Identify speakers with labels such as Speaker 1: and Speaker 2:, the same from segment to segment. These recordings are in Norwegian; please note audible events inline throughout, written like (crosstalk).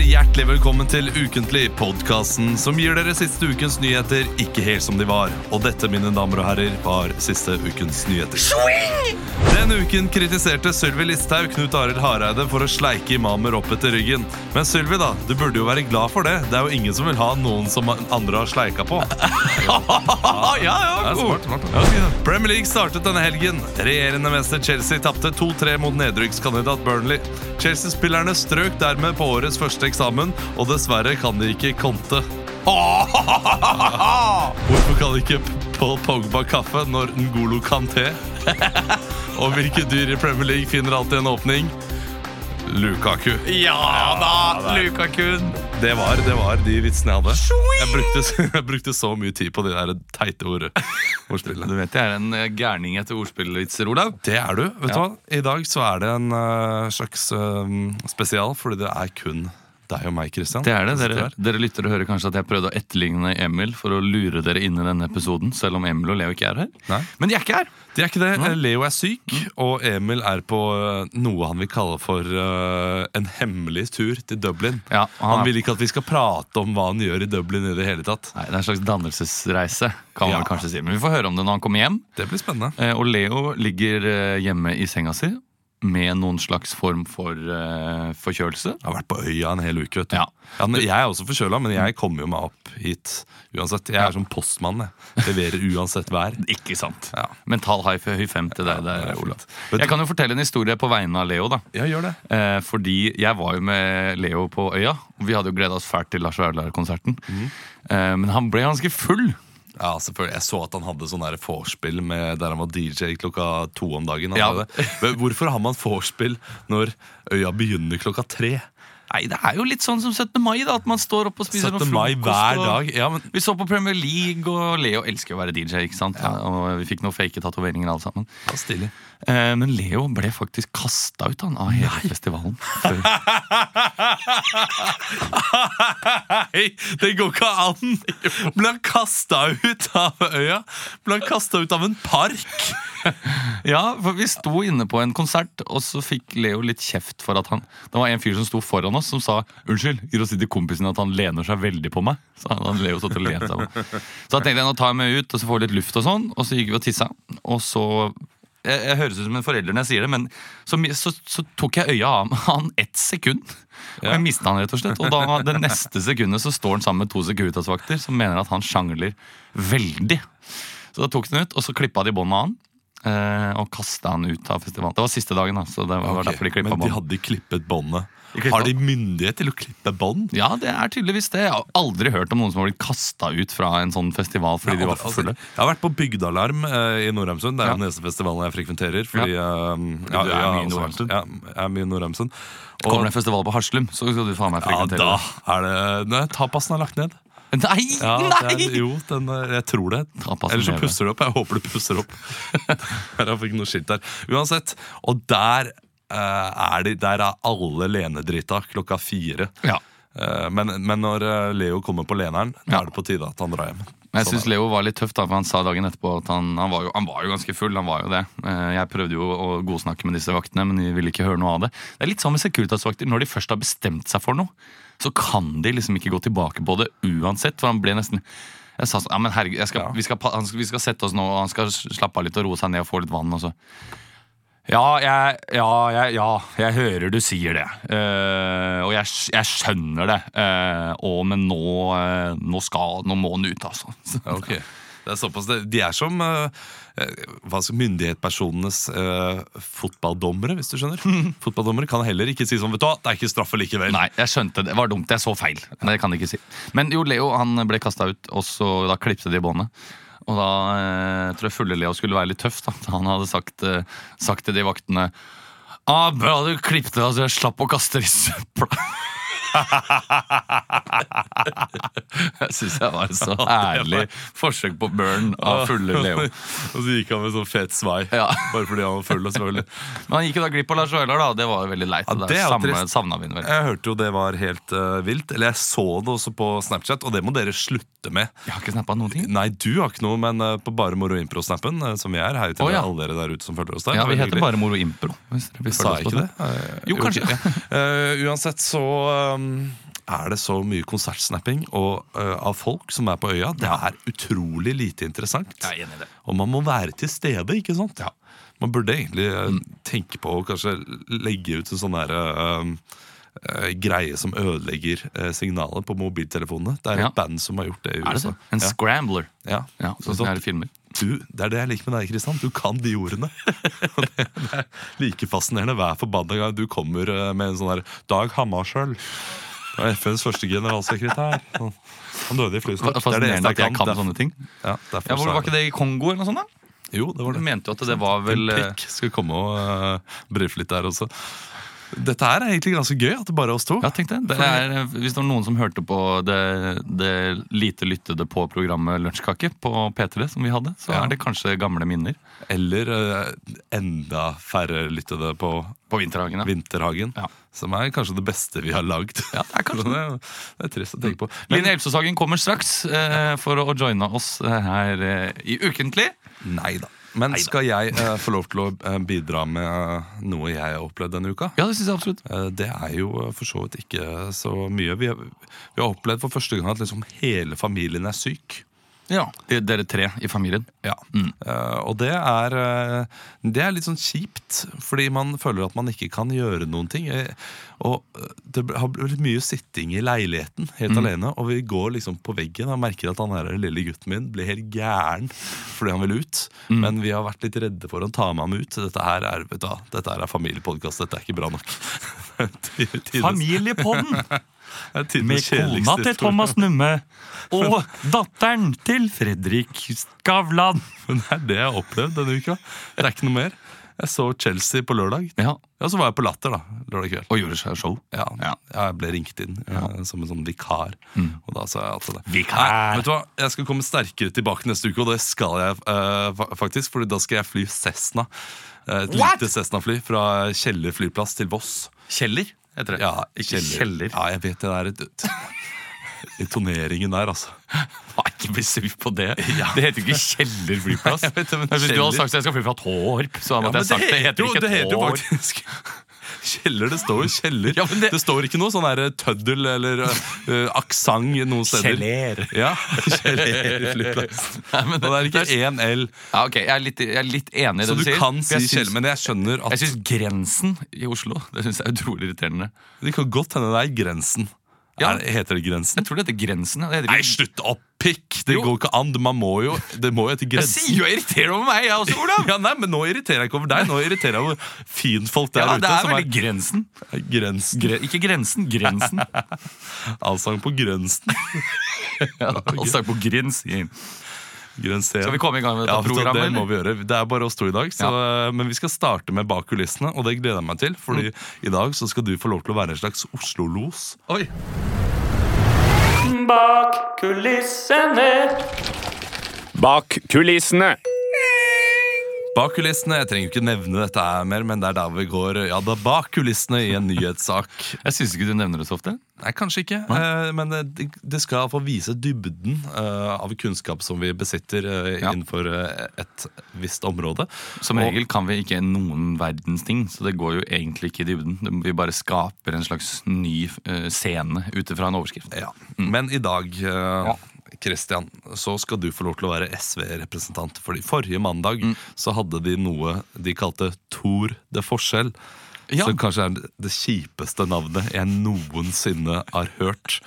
Speaker 1: velkommen til Ukentlig, podkasten som gir dere siste ukens nyheter ikke helt som de var. Og dette, mine damer og herrer, var siste ukens nyheter. Denne uken kritiserte Sylvi Listhaug Knut Arild Hareide for å sleike imamer opp etter ryggen. Men Sylvi, da, du burde jo være glad for det. Det er jo ingen som vil ha noen som andre har sleika på.
Speaker 2: Ah, ja, ja, god.
Speaker 1: Ja, ok. Premier League startet denne helgen. Regjerende mester Chelsea tapte 2-3 mot nedrykkskandidat Burnley. Chelsea-spillerne strøk dermed på årets første eksamen, og dessverre kan de ikke
Speaker 2: (laughs)
Speaker 1: konte. Hvorfor kan ikke Paul Pogba kaffe når Ngolo Kanté? (laughs) Og hvilke dyr i Premier League finner alltid en åpning? Lukaku.
Speaker 2: Ja da, Lukakun.
Speaker 1: Det var, det var de vitsene jeg hadde. Jeg brukte, jeg brukte så (laughs) mye tid på de der teite ord- ordspillene.
Speaker 2: Du vet jeg er en eh, gærning etter ordspillvitser, Olav.
Speaker 1: Det er du. vet du
Speaker 2: Ja.
Speaker 1: hva? I dag så er det en eh, slags eh, spesial, fordi det er kun deg og meg, Christian.
Speaker 2: Det er det.
Speaker 1: som
Speaker 2: Dere,
Speaker 1: sitter her.
Speaker 2: dere lytter og hører kanskje at jeg prøvde å etterligne Emil for å lure dere inn i denne episoden, selv om Emil og Leo ikke er her.
Speaker 1: Nei.
Speaker 2: Men de er ikke her!
Speaker 1: Det er ikke det. Leo er syk,
Speaker 2: Mm.
Speaker 1: og Emil er på eh, noe han vil kalle for eh, en hemmelig tur til Dublin.
Speaker 2: Ja,
Speaker 1: han,
Speaker 2: han er-
Speaker 1: vil ikke at vi skal prate om hva han gjør i Dublin i det hele tatt.
Speaker 2: Nei, Det er en slags dannelsesreise, kan man
Speaker 1: Ja.
Speaker 2: vel kanskje si. Men vi får høre om det når han kommer hjem.
Speaker 1: Det blir spennende.
Speaker 2: Eh, Og Leo ligger eh, hjemme i senga si med noen slags form for eh, forkjølelse.
Speaker 1: Jeg har vært på øya en hel uke, vet du.
Speaker 2: Ja.
Speaker 1: men jeg er også forkjøla, men jeg kommer jo meg opp hit uansett. Jeg er som postmann, jeg. Leverer uansett (laughs) vær.
Speaker 2: Ikke sant?
Speaker 1: Ja.
Speaker 2: Mental high høy fem til deg der,
Speaker 1: det er
Speaker 2: Olav.
Speaker 1: fint. Vet du-
Speaker 2: Jeg kan jo fortelle en historie på vegne av Leo, da.
Speaker 1: Ja, gjør det.
Speaker 2: Eh, fordi jeg var jo med Leo på øya, og vi hadde jo gleda oss fælt til Lars Vaular-konserten.
Speaker 1: Mhm.
Speaker 2: Eh, men han ble ganske full.
Speaker 1: Ja, selvfølgelig. Jeg så at han hadde sånn der vorspiel med der han var DJ klokka to om dagen. Han
Speaker 2: Ja.
Speaker 1: hadde det. Men hvorfor har man vorspiel når øya begynner klokka tre?
Speaker 2: Nei, det er jo litt sånn som 17. mai, da. At man står opp og spiser
Speaker 1: 17.
Speaker 2: noe
Speaker 1: mai
Speaker 2: frokost.
Speaker 1: hver
Speaker 2: og-
Speaker 1: dag. Ja, men
Speaker 2: Vi så på Premier League, og Leo elsker jo å være DJ, ikke sant? Og vi fikk noen fake tatoveringer alle sammen.
Speaker 1: ja, stilig.
Speaker 2: Eh, men Leo ble faktisk kasta ut han, av hele festivalen. Før.
Speaker 1: Nei, det går ikke (laughs) an! Ble han kasta ut av øya? Ble han kasta ut av en park?
Speaker 2: Ja, for vi sto inne på en konsert, og så fikk Leo litt kjeft for at han Det var en fyr som sto foran oss, som sa 'Unnskyld, gir å si til kompisen at han lener seg veldig på meg'. Så han, han Leo satt og lente seg på meg. Så da tenkte jeg nå tar jeg meg ut, og så får jeg litt luft og sånn. Og så gikk vi og tissa, og så jeg, jeg høres ut som en forelder når jeg sier det, men så, mi- så, så tok jeg øya av han ett sekund. Og jeg mistet han rett og slett. Og da det neste sekundet så står han sammen med to Securitas-vakter som mener at han sjangler veldig. Så da tok den ut, og så klippa de båndet av han. eh, Og kasta han ut av festivalen. Det var siste dagen, da. Så det var
Speaker 1: Ok,
Speaker 2: derfor de klippa
Speaker 1: men de
Speaker 2: båndet.
Speaker 1: hadde klippet båndet.
Speaker 2: De klippet-
Speaker 1: Har de myndighet til å klippe bånd?
Speaker 2: Ja, det er tydeligvis det. Jeg har aldri hørt om noen som har blitt kasta ut fra en sånn festival fordi de var for fulle.
Speaker 1: Jeg har vært på Bygdealarm eh, i Nordheimsund. Det er
Speaker 2: altså, Ja.
Speaker 1: jo den eneste festivalen jeg frekventerer. Fordi, eh,
Speaker 2: du er
Speaker 1: jeg har
Speaker 2: mye i
Speaker 1: også-
Speaker 2: Nordheimsund.
Speaker 1: Ja, jeg er mye i Nordheimsund. Og-
Speaker 2: Kommer det en festival på Haslum, så skal du faen meg
Speaker 1: Ja,
Speaker 2: frekventere
Speaker 1: da er det Nei, tapasen er lagt ned.
Speaker 2: det. (laughs) Nei! (laughs)
Speaker 1: Ja,
Speaker 2: nei!
Speaker 1: Det er, jo, den, er- jeg tror det.
Speaker 2: Tapasen
Speaker 1: Eller så
Speaker 2: lever.
Speaker 1: pusser det opp. Jeg håper det pusser opp. (laughs) jeg fikk noe skilt der. Uansett. Og der eh, er de Der er alle lenedrita klokka fire.
Speaker 2: Ja.
Speaker 1: Eh, men, men når eh, Leo kommer på leneren, da
Speaker 2: Ja.
Speaker 1: er det på tide at han drar hjem.
Speaker 2: Men jeg
Speaker 1: Sånn
Speaker 2: synes Leo var litt tøff, da, for han sa dagen etterpå at han, han, var jo, han var jo ganske full. han var jo det. Eh, Jeg prøvde jo å godsnakke med disse vaktene, men de ville ikke høre noe av det. Det er litt sånn med Securitas-vakter. Når de først har bestemt seg for noe, så kan de liksom ikke gå tilbake på det uansett. For han ble nesten Jeg sa sånn Ja, men herregud, jeg skal, vi, skal, pa- han skal, vi skal sette oss nå, og han skal slappe av litt og roe seg ned og få litt vann. og så... Ja, jeg, ja, jeg, ja, jeg hører du sier det. Eh, og jeg, sk- jeg skjønner det. Eh, og, men nå, eh, nå, skal, nå må han ut, altså. (laughs) Så-
Speaker 1: Ja, ok. Det er såpass. det- De er som eh, eh, hva skal, myndighetspersonenes eh, fotballdommere, hvis du
Speaker 2: (laughs)
Speaker 1: skjønner. fotballdommere kan heller ikke si sånn, vet du hva, det er ikke straffe likevel.
Speaker 2: Nei, jeg skjønte det. Det var dumt. Jeg så feil. Men det kan jeg ikke si. Men jo, Leo han ble kasta ut, og så da klipte de båndet. Og da eh, tror jeg fulle Leo skulle være litt tøff. da Han hadde sagt, eh, sagt til de vaktene ah, 'Bra du klippte deg, så jeg slapp å kaste det i søpla'. (laughs) Jeg syns jeg var et så ærlig forsøk på burn
Speaker 1: (laughs)
Speaker 2: av fulle Leo.
Speaker 1: og så gikk han med sånn fet svai,
Speaker 2: Ja.
Speaker 1: (laughs) bare fordi han var full. og selvfølgelig.
Speaker 2: Men han gikk jo da glipp av Lars Vaular, da. og Det var jo veldig leit.
Speaker 1: Ja,
Speaker 2: og
Speaker 1: det er jo
Speaker 2: savna-
Speaker 1: trist.
Speaker 2: savna vi den veldig.
Speaker 1: Jeg hørte jo det var helt eh, vilt. Eller jeg så det også på Snapchat, og det må dere slutte med.
Speaker 2: Jeg har ikke snappa noen ting.
Speaker 1: Nei, du har ikke noe, men eh, på Bare Moro Impro-snappen, eh, som vi er, hei til
Speaker 2: Å, ja.
Speaker 1: alle dere der ute som følger oss der.
Speaker 2: Ja, Vi
Speaker 1: Veldig
Speaker 2: heter
Speaker 1: hyggelig.
Speaker 2: bare Moro Impro. hvis dere vil følge
Speaker 1: Sa
Speaker 2: oss
Speaker 1: jeg
Speaker 2: på
Speaker 1: ikke det? Eh,
Speaker 2: Jo, kanskje.
Speaker 1: ok. Eh, uansett så um, er det så mye konsertsnapping og, eh, av folk som er på øya. Det er utrolig lite interessant.
Speaker 2: Jeg er enig i det.
Speaker 1: Og man må være til stede, ikke sant? Man burde egentlig eh,
Speaker 2: Mm.
Speaker 1: tenke på å kanskje legge ut en sånn der, eh, eh, greie som ødelegger eh, signalet på mobiltelefonene. Det er
Speaker 2: Ja.
Speaker 1: et band som har gjort det i
Speaker 2: Er det
Speaker 1: USA.
Speaker 2: det? En scrambler.
Speaker 1: Ja.
Speaker 2: Ja, sånn som det er i filmer.
Speaker 1: Du, det er det jeg liker med deg, Kristian. Du kan de ordene. (laughs) Og det, det er like fascinerende hver forbanna gang du kommer eh, med en sånn der Dag Hammarskjöld. Det var FNs første generalsekretær. Sånn. Han døde i flystopp. Det er det
Speaker 2: Fascinerende
Speaker 1: eneste
Speaker 2: at jeg kan sånne ting.
Speaker 1: Ja, derfor
Speaker 2: Ja, hvor
Speaker 1: så er
Speaker 2: Var ikke det i Kongo eller noe sånt? da?
Speaker 1: Jo, det var
Speaker 2: Du
Speaker 1: det.
Speaker 2: mente jo at det var vel eh,
Speaker 1: Prikk skal komme og uh, brife litt der også. Dette her er egentlig ganske gøy, at det bare er oss to.
Speaker 2: Ja, tenk det. det er, eh, hvis det var noen som hørte på det, det lite lyttede på programmet Lunsjkake på P3, som vi hadde, så
Speaker 1: Ja.
Speaker 2: er det kanskje gamle minner
Speaker 1: Eller eh, enda færre lyttede på
Speaker 2: på Vinterhagen. Ja.
Speaker 1: Vinterhagen.
Speaker 2: Ja.
Speaker 1: Som er kanskje det beste vi har lagd.
Speaker 2: Ja, det Mm. er
Speaker 1: (laughs)
Speaker 2: kanskje
Speaker 1: det, det er trist å tenke på. Men-
Speaker 2: Line Elvsåshagen kommer straks eh, for å joine oss eh, her eh, i Ukentlig.
Speaker 1: Nei da. Men skal jeg eh, få lov til å eh, bidra med eh, noe jeg har opplevd denne uka?
Speaker 2: Ja, det syns jeg absolutt.
Speaker 1: Eh, det er jo eh, for så vidt ikke så mye. Vi, har- vi har opplevd for første gang at liksom hele familien er syk.
Speaker 2: Ja, de- Dere tre i familien.
Speaker 1: Ja. Eh, og det er, eh, det er litt sånn kjipt, fordi man føler at man ikke kan gjøre noen ting. Eh, og eh, det har blitt mye sitting i leiligheten helt alene, og vi går liksom på veggen og merker at han her, lille gutten min blir helt gæren fordi han vil ut. Men vi har vært litt redde for å ta med ham ut. Dette her er, vet du, hva, dette her er familiepodkast, dette er ikke bra nok. (laughs) Det er tidenes-
Speaker 2: (laughs) Familiepodden
Speaker 1: det er tidenes kjedeligste historie.
Speaker 2: (laughs) Numme og datteren til Fredrik Skavlan.
Speaker 1: Men (laughs) det er det jeg har opplevd denne uka. Det er ikke noe mer. Jeg så Chelsea på lørdag.
Speaker 2: Ja,
Speaker 1: Ja, så var jeg på Latter da, lørdag kveld.
Speaker 2: Og gjorde seg show.
Speaker 1: Ja,
Speaker 2: Ja. Mm.
Speaker 1: jeg ble ringt inn eh, som en sånn vikar. Og da sa jeg at det.
Speaker 2: Vikar.
Speaker 1: Nei, vet du hva? Jeg skal komme sterkere tilbake neste uke, og det skal jeg eh, fa- faktisk. Fordi da skal jeg fly Cessna. Eh, Et
Speaker 2: What?
Speaker 1: lite Cessna-fly fra Kjeller flyplass til Voss.
Speaker 2: Kjeller heter det.
Speaker 1: Ja,
Speaker 2: ikke Kjeller.
Speaker 1: Ja, jeg vet det er et Intoneringen der, altså.
Speaker 2: Nei, ikke bli sur på (laughs) det. Det heter jo ikke Kjeller (laughs) flyplass.
Speaker 1: Jeg vet det, men
Speaker 2: Hvis du hadde
Speaker 1: Kjeller-
Speaker 2: sagt at jeg skal fly fra Tårp, så hadde jeg sagt det. Det heter
Speaker 1: jo-
Speaker 2: ikke
Speaker 1: det heter jo
Speaker 2: Tårp.
Speaker 1: faktisk (laughs) Kjeller, det står jo Kjeller.
Speaker 2: Ja, men
Speaker 1: det...
Speaker 2: det-
Speaker 1: står ikke noe sånn der tøddel eller uh, aksent noen steder.
Speaker 2: (laughs)
Speaker 1: Ja, Kjeller flyplass.
Speaker 2: Nei, men
Speaker 1: Og det er ikke én L,
Speaker 2: Ja, ok, jeg er litt, jeg er litt enig i
Speaker 1: så
Speaker 2: det
Speaker 1: du
Speaker 2: du sier.
Speaker 1: kan
Speaker 2: for
Speaker 1: si
Speaker 2: jeg syns-
Speaker 1: Kjeller. Men jeg skjønner
Speaker 2: Jeg
Speaker 1: at
Speaker 2: syns grensen i Oslo Det synes jeg er utrolig irriterende.
Speaker 1: det kan godt hende det er Grensen.
Speaker 2: Ja.
Speaker 1: Er, heter det Grensen?
Speaker 2: Jeg tror det heter Grensen. ja. Det heter
Speaker 1: Nei,
Speaker 2: ikke-
Speaker 1: slutt opp, pikk! Det
Speaker 2: Jo.
Speaker 1: går ikke an. Man må jo, det må jo hete
Speaker 2: Jeg
Speaker 1: Grensen.
Speaker 2: sier jo jeg irriterer over meg, jeg også, Olav!
Speaker 1: Ja, nei, men Nå irriterer jeg ikke over deg, nå irriterer jeg over finfolk der
Speaker 2: Ja, det
Speaker 1: ute.
Speaker 2: er
Speaker 1: som
Speaker 2: veldig Grensen.
Speaker 1: er Grensen.
Speaker 2: Gre ikke Grensen, (laughs) Grensen.
Speaker 1: Allsang på Grensen.
Speaker 2: Ja, altså på Grensen.
Speaker 1: Grensen.
Speaker 2: Skal vi komme i gang med dette
Speaker 1: Ja, vet du hva,
Speaker 2: programmet?
Speaker 1: det må
Speaker 2: eller?
Speaker 1: vi gjøre. Det er bare oss to i dag. Så, eh, Men vi skal starte med bak kulissene, og det gleder jeg meg til. Fordi
Speaker 2: Mm.
Speaker 1: i dag så skal du få lov til å være en slags Oslo-los.
Speaker 2: Oi.
Speaker 3: Bak kulissene.
Speaker 4: Bak kulissene.
Speaker 1: Bak kulissene, jeg trenger jo ikke nevne dette her mer, men det er der vi går ja, da bak kulissene i en nyhetssak.
Speaker 2: (laughs) Jeg syns ikke du nevner det så ofte.
Speaker 1: Nei, kanskje ikke, eh, men det, det skal få vise dybden eh, av kunnskap som vi besitter eh,
Speaker 2: Ja.
Speaker 1: innenfor eh, et visst område.
Speaker 2: Som
Speaker 1: Og-
Speaker 2: regel kan vi ikke noen verdens ting, så det går jo egentlig ikke i dybden. Vi bare skaper en slags ny eh, scene ut ifra en overskrift.
Speaker 1: Ja.
Speaker 2: Mm.
Speaker 1: Men i dag, eh, Christian, så skal du få lov til å være SV-representant. Fordi forrige mandag
Speaker 2: Mm.
Speaker 1: så hadde de noe de kalte Tor det forskjell.
Speaker 2: Ja.
Speaker 1: Som kanskje er det kjipeste navnet jeg noensinne har hørt.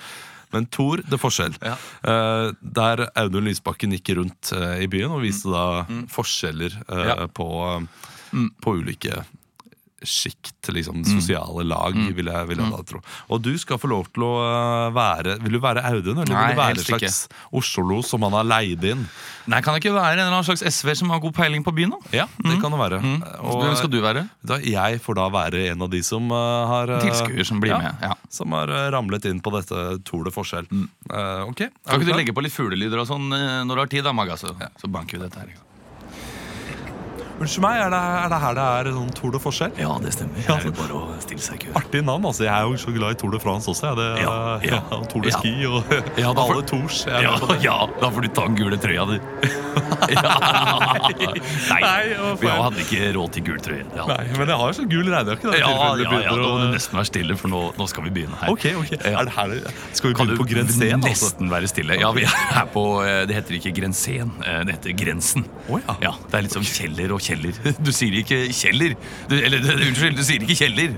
Speaker 1: Men Tor det forskjell.
Speaker 2: Ja.
Speaker 1: Eh, der Audun Lysbakken gikk rundt eh, i byen og viste da forskjeller eh,
Speaker 2: Mm. Ja.
Speaker 1: på, på ulike sjikt,
Speaker 2: Mm.
Speaker 1: liksom sosiale lag, vil jeg, vil jeg da tro. Og du skal få lov til å øh, være Vil du være Audun, eller
Speaker 2: Nei,
Speaker 1: vil du være en
Speaker 2: helst
Speaker 1: slags Oslo som han har leid inn?
Speaker 2: Nei, kan det ikke være en eller annen slags SV som har god peiling på byen, da?
Speaker 1: Ja, det kan det være.
Speaker 2: Og, mm. Hvem skal du være?
Speaker 1: da, jeg får da være en av de som øh, har øh,
Speaker 2: Tilskuer som blir
Speaker 1: ja,
Speaker 2: med. Ja. Mm.
Speaker 1: Som har øh, ramlet inn på dette Tole forskjell. Eh, ok, er
Speaker 2: Kan ikke
Speaker 1: klar?
Speaker 2: du legge på litt fuglelyder og sånn eh, når du har tid, da, Maga? Så, så banker vi dette her. i gang.
Speaker 1: Unnskyld meg, er det, er det her det er sånn Tour de Forskjell?
Speaker 5: Ja, det stemmer. Det er jo bare å stille seg i kø.
Speaker 1: Artig navn, altså. Jeg er jo så glad i Tour de France også. jeg. Det,
Speaker 5: Ja,
Speaker 1: (laughs)
Speaker 5: ja,
Speaker 1: og Tour de
Speaker 2: ja.
Speaker 1: Ski og
Speaker 2: Ja, da
Speaker 1: (laughs)
Speaker 2: får-
Speaker 1: alle Tours. Jeg er
Speaker 2: Ja,
Speaker 1: med på det.
Speaker 2: (laughs) ja, da får du ta den gule trøya
Speaker 1: (laughs)
Speaker 2: di. Ja. Nei,
Speaker 1: Nei, det var feil.
Speaker 2: vi hadde ikke råd til gul trøye. Det hadde
Speaker 1: Nei, men jeg har jo så gul regnjakke. da, i
Speaker 2: Ja,
Speaker 1: tilfelle det
Speaker 2: ja, ja,
Speaker 1: begynner
Speaker 2: nå må
Speaker 1: å-
Speaker 2: du nesten være stille, for nå, nå skal vi begynne her.
Speaker 1: Ok, ok.
Speaker 2: Ja.
Speaker 1: Er det her, det- skal vi
Speaker 2: Kan du
Speaker 1: begynne på grensen igjen, altså?
Speaker 2: nesten være stille? Ja, vi er her på eh, Det heter ikke Grensen, eh, det heter Grensen.
Speaker 1: Å, ja.
Speaker 2: Det er litt som Kjeller og Kjeller. (laughs) Du sier ikke Kjeller. Du, eller (laughs) du- unnskyld, du sier ikke Kjeller.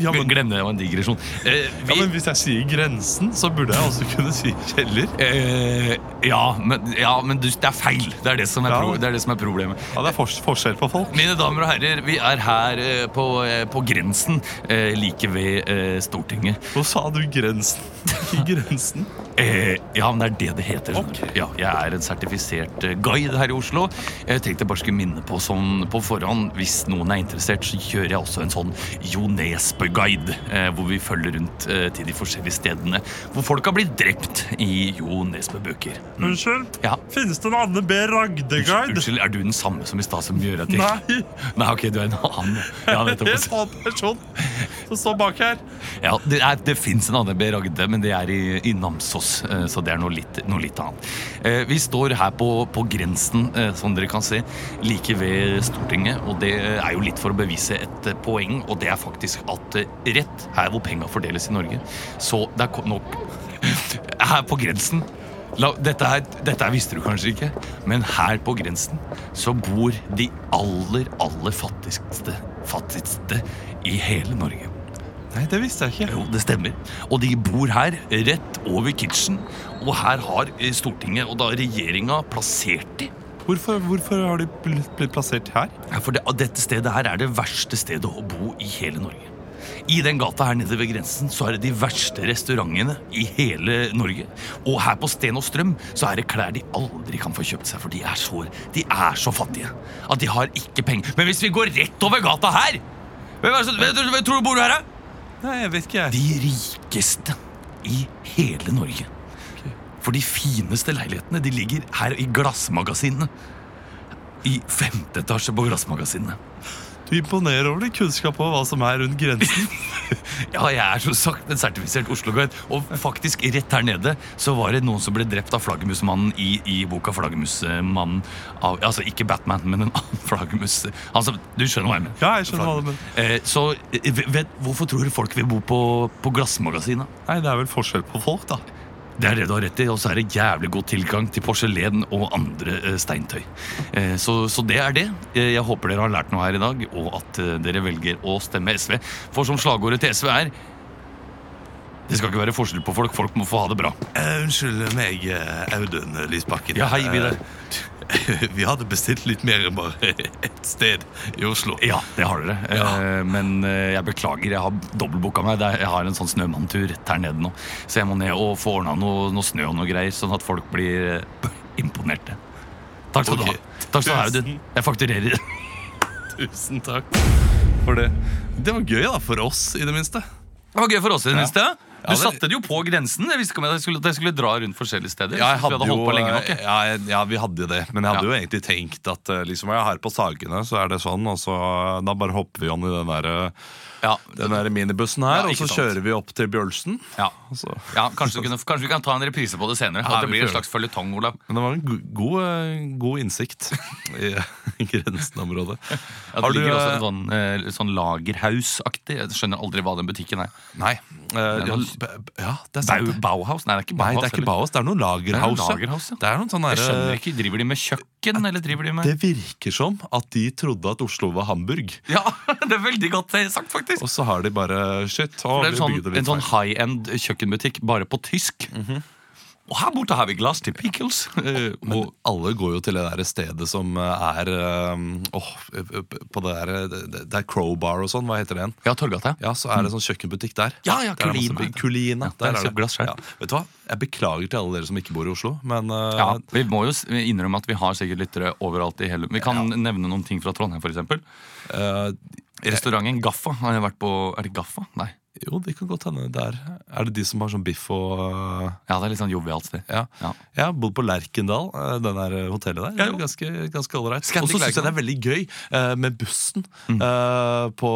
Speaker 1: Ja, men,
Speaker 2: Glem det, det var en digresjon. Eh,
Speaker 1: ja,
Speaker 2: vi,
Speaker 1: men Hvis jeg sier grensen, så burde jeg også kunne si kjeller.
Speaker 2: eh, ja, men, ja, men du, det er feil. Det er det som er,
Speaker 1: Ja.
Speaker 2: pro, det er, det som er problemet.
Speaker 1: Ja, Det er fors forskjell på folk.
Speaker 2: Mine damer og herrer, vi er her eh, på, eh, på grensen, eh, like ved eh, Stortinget.
Speaker 1: Nå sa du grensen. Ikke grensen.
Speaker 2: Eh, ja, men det er det det heter. skjønner du.
Speaker 1: Ok.
Speaker 2: Ja, jeg er en sertifisert eh, guide her i Oslo. Jeg tenkte jeg bare skulle minne på sånn på forhånd, hvis noen er interessert, så kjører jeg også en sånn Jo Nesbø-guide, eh, hvor vi følger rundt eh, til de forskjellige stedene hvor folk har blitt drept i Jo Nesbø-bøker. Mm.
Speaker 1: Unnskyld?
Speaker 2: Ja.
Speaker 1: Finnes det en Anne B. Ragde-guide?
Speaker 2: Unnskyld, er du den samme som i stad som gjør at jeg
Speaker 1: Nei.
Speaker 2: Nei, ok, du er en annen. Ja,
Speaker 1: Det er en
Speaker 2: nettopp.
Speaker 1: annen person sånn som står bak her.
Speaker 2: Ja, det, er- det fins en annen B. Ragde, men det er i, i Namsos, eh, så det er noe litt, noe litt annet. Eh, Vi står her på, på grensen, eh, som dere kan se, like ved Stortinget. Og det er jo litt for å bevise et eh, poeng, og det er faktisk at eh, rett her hvor penga fordeles i Norge, så det er ko- nok (laughs) Her på grensen La, dette, her, dette her visste du kanskje ikke, men her på grensen så bor de aller, aller fattigste, fattigste i hele Norge.
Speaker 1: Nei, det visste jeg ikke.
Speaker 2: Jo, det stemmer. Og de bor her, rett over kitchen. Og her har eh, Stortinget og da regjeringa plassert de.
Speaker 1: Hvorfor, hvorfor har de bl- blitt plassert her?
Speaker 2: Ja, For det, og dette stedet her er det verste stedet å bo i hele Norge. I den gata her nede ved grensen så er det de verste restaurantene i hele Norge. Og her på Sten og Strøm så er det klær de aldri kan få kjøpt seg, for de er så, de er så fattige at de har ikke penger. Men hvis vi går rett over gata her Hvem, er det som- hvem, hvem tror du bor her, da?
Speaker 1: Nei, jeg vet ikke. jeg.
Speaker 2: De rikeste i hele Norge. For de fineste leilighetene de ligger her i glassmagasinene. I femte etasje på glassmagasinene.
Speaker 1: Du imponerer over din kunnskap om hva som er rundt grensen.
Speaker 2: Ja, jeg er som sagt en sertifisert Oslo-guide. Og faktisk, rett her nede så var det noen som ble drept av flaggermusmannen i, i boka 'Flaggermusmannen'. Av, altså ikke Batman, men en annen (laughs) flaggermus. Altså, du skjønner hva jeg mener.
Speaker 1: Ja, jeg skjønner hva du mener.
Speaker 2: Eh, så eh, vet, hvorfor tror du folk vil bo på, på glassmagasinet?
Speaker 1: Nei, det er vel forskjell på folk, da.
Speaker 2: Det er det du har rett i, og så er det jævlig god tilgang til porselen og andre eh, steintøy. Eh, Så, så det er det. Eh, Jeg håper dere har lært noe her i dag, og at eh, dere velger å stemme SV. For som slagordet til SV er Det skal ikke være forskjell på folk, folk må få ha det bra.
Speaker 5: Eh, unnskyld meg, eh, Audun eh, Lysbakken.
Speaker 2: Ja, hei, Vidar.
Speaker 1: (laughs)
Speaker 5: Eh, vi hadde bestilt litt mer enn bare ett sted i Oslo.
Speaker 2: Ja, det har dere. Eh, Men eh, jeg beklager, jeg har dobbeltbooka meg. Det er- Jeg har en sånn snømanntur rett her nede nå. Så jeg må ned og få ordna noe, noe snø og noe greier, sånn at folk blir eh, (laughs) imponerte. Takk skal
Speaker 5: Ok.
Speaker 2: du ha. Takk skal du ha, Audun. Jeg fakturerer.
Speaker 1: Tusen takk for det. Det var gøy, da. For oss, i det minste.
Speaker 2: Det var gøy for oss i det minste.
Speaker 1: Ja,
Speaker 2: Du
Speaker 1: det-
Speaker 2: satte det jo på grensen. Jeg visste ikke om jeg skulle, at jeg skulle dra rundt forskjellige steder.
Speaker 1: Ja,
Speaker 2: Jeg
Speaker 1: jeg
Speaker 2: synes vi
Speaker 1: hadde
Speaker 2: hadde
Speaker 1: jo, eh,
Speaker 2: holdt på lenge nok. jeg.
Speaker 1: ja, jeg- ja, vi hadde jo det. Men jeg hadde
Speaker 2: Ja.
Speaker 1: jo egentlig tenkt at eh, liksom, ja, her på Sagene så er det sånn, og så da bare hopper vi om i den der, eh,
Speaker 2: Ja,
Speaker 1: den der minibussen her, og
Speaker 2: Ja, ikke
Speaker 1: så
Speaker 2: sant.
Speaker 1: kjører vi opp til Bjølsen.
Speaker 2: ja.
Speaker 1: Og så-
Speaker 2: ja kanskje, vi kunne, kanskje vi kan ta en reprise på det senere.
Speaker 1: Ja,
Speaker 2: at det
Speaker 1: vi
Speaker 2: blir
Speaker 1: får
Speaker 2: en
Speaker 1: gjøre
Speaker 2: slags føljetong, Olav.
Speaker 1: Men det var en go god, eh, god innsikt (laughs) i i grensenområdet.
Speaker 2: At
Speaker 1: Har
Speaker 2: det
Speaker 1: du,
Speaker 2: ligger også
Speaker 1: eh,
Speaker 2: en sånn, eh, sånn lagerhausaktig. Jeg skjønner aldri hva den butikken er.
Speaker 1: Nei. eh, ja,
Speaker 2: noe-
Speaker 1: b- b- ja, det er
Speaker 2: Bau,
Speaker 1: sant. det.
Speaker 2: Bauhaus? Nei, det er ikke
Speaker 1: Nei,
Speaker 2: Bauhaus.
Speaker 1: det er ikke
Speaker 2: eller?
Speaker 1: Bauhaus. Det er noe Lagerhaus.
Speaker 2: Det er noe Lagerhaus, ja.
Speaker 1: Det er noen sånne
Speaker 2: Jeg skjønner
Speaker 1: der,
Speaker 2: ikke. Driver de med kjøkken, eller driver de med
Speaker 1: Det virker som at de trodde at Oslo var Hamburg.
Speaker 2: (laughs) Ja, det er veldig godt eh, sagt, faktisk.
Speaker 1: Og så har de bare Shit. Å,
Speaker 2: Det er
Speaker 1: vi
Speaker 2: en sånn,
Speaker 1: bygde litt
Speaker 2: en sånn
Speaker 1: feil. Mhm.
Speaker 2: high-end kjøkkenbutikk bare på tysk. Og her borte har vi glass til
Speaker 1: (laughs)
Speaker 2: pickles. Eh,
Speaker 1: Men
Speaker 2: og,
Speaker 1: alle går jo til det der stedet som eh, er um, Åh, eh, på det der eh, det, det er Crowbar og sånn. Hva heter det igjen?
Speaker 2: ja, Torgata.
Speaker 1: Ja, så er det sånn kjøkkenbutikk der.
Speaker 2: Mm. Ja, ja,
Speaker 1: Der er det masse
Speaker 2: Kulina.
Speaker 1: bygg- Kulina.
Speaker 2: Ja, der
Speaker 1: er
Speaker 2: kjøper
Speaker 1: det.
Speaker 2: glass selv.
Speaker 1: Vet du hva? Jeg beklager til alle dere som ikke bor i Oslo, men eh,
Speaker 2: Ja, Vi må jo s- innrømme at vi har sikkert lyttere overalt i hele Vi kan nevne noen ting fra Trondheim, f.eks.
Speaker 1: eh,
Speaker 2: Restauranten Gaffa har jeg vært på Er det Gaffa? Nei.
Speaker 6: Jo, det kan godt hende der. Er det de som har sånn biff og eh,
Speaker 2: Ja, det er litt sånn jovialt sted.
Speaker 6: Ja.
Speaker 2: Ja.
Speaker 6: Jeg har bodd på Lerkendal, eh, den der eh, hotellet der.
Speaker 1: Ja, jo.
Speaker 6: Ganske ganske ålreit.
Speaker 2: Scandic
Speaker 6: Og så syns jeg det er veldig gøy eh, med bussen
Speaker 1: Mm.
Speaker 6: eh, på,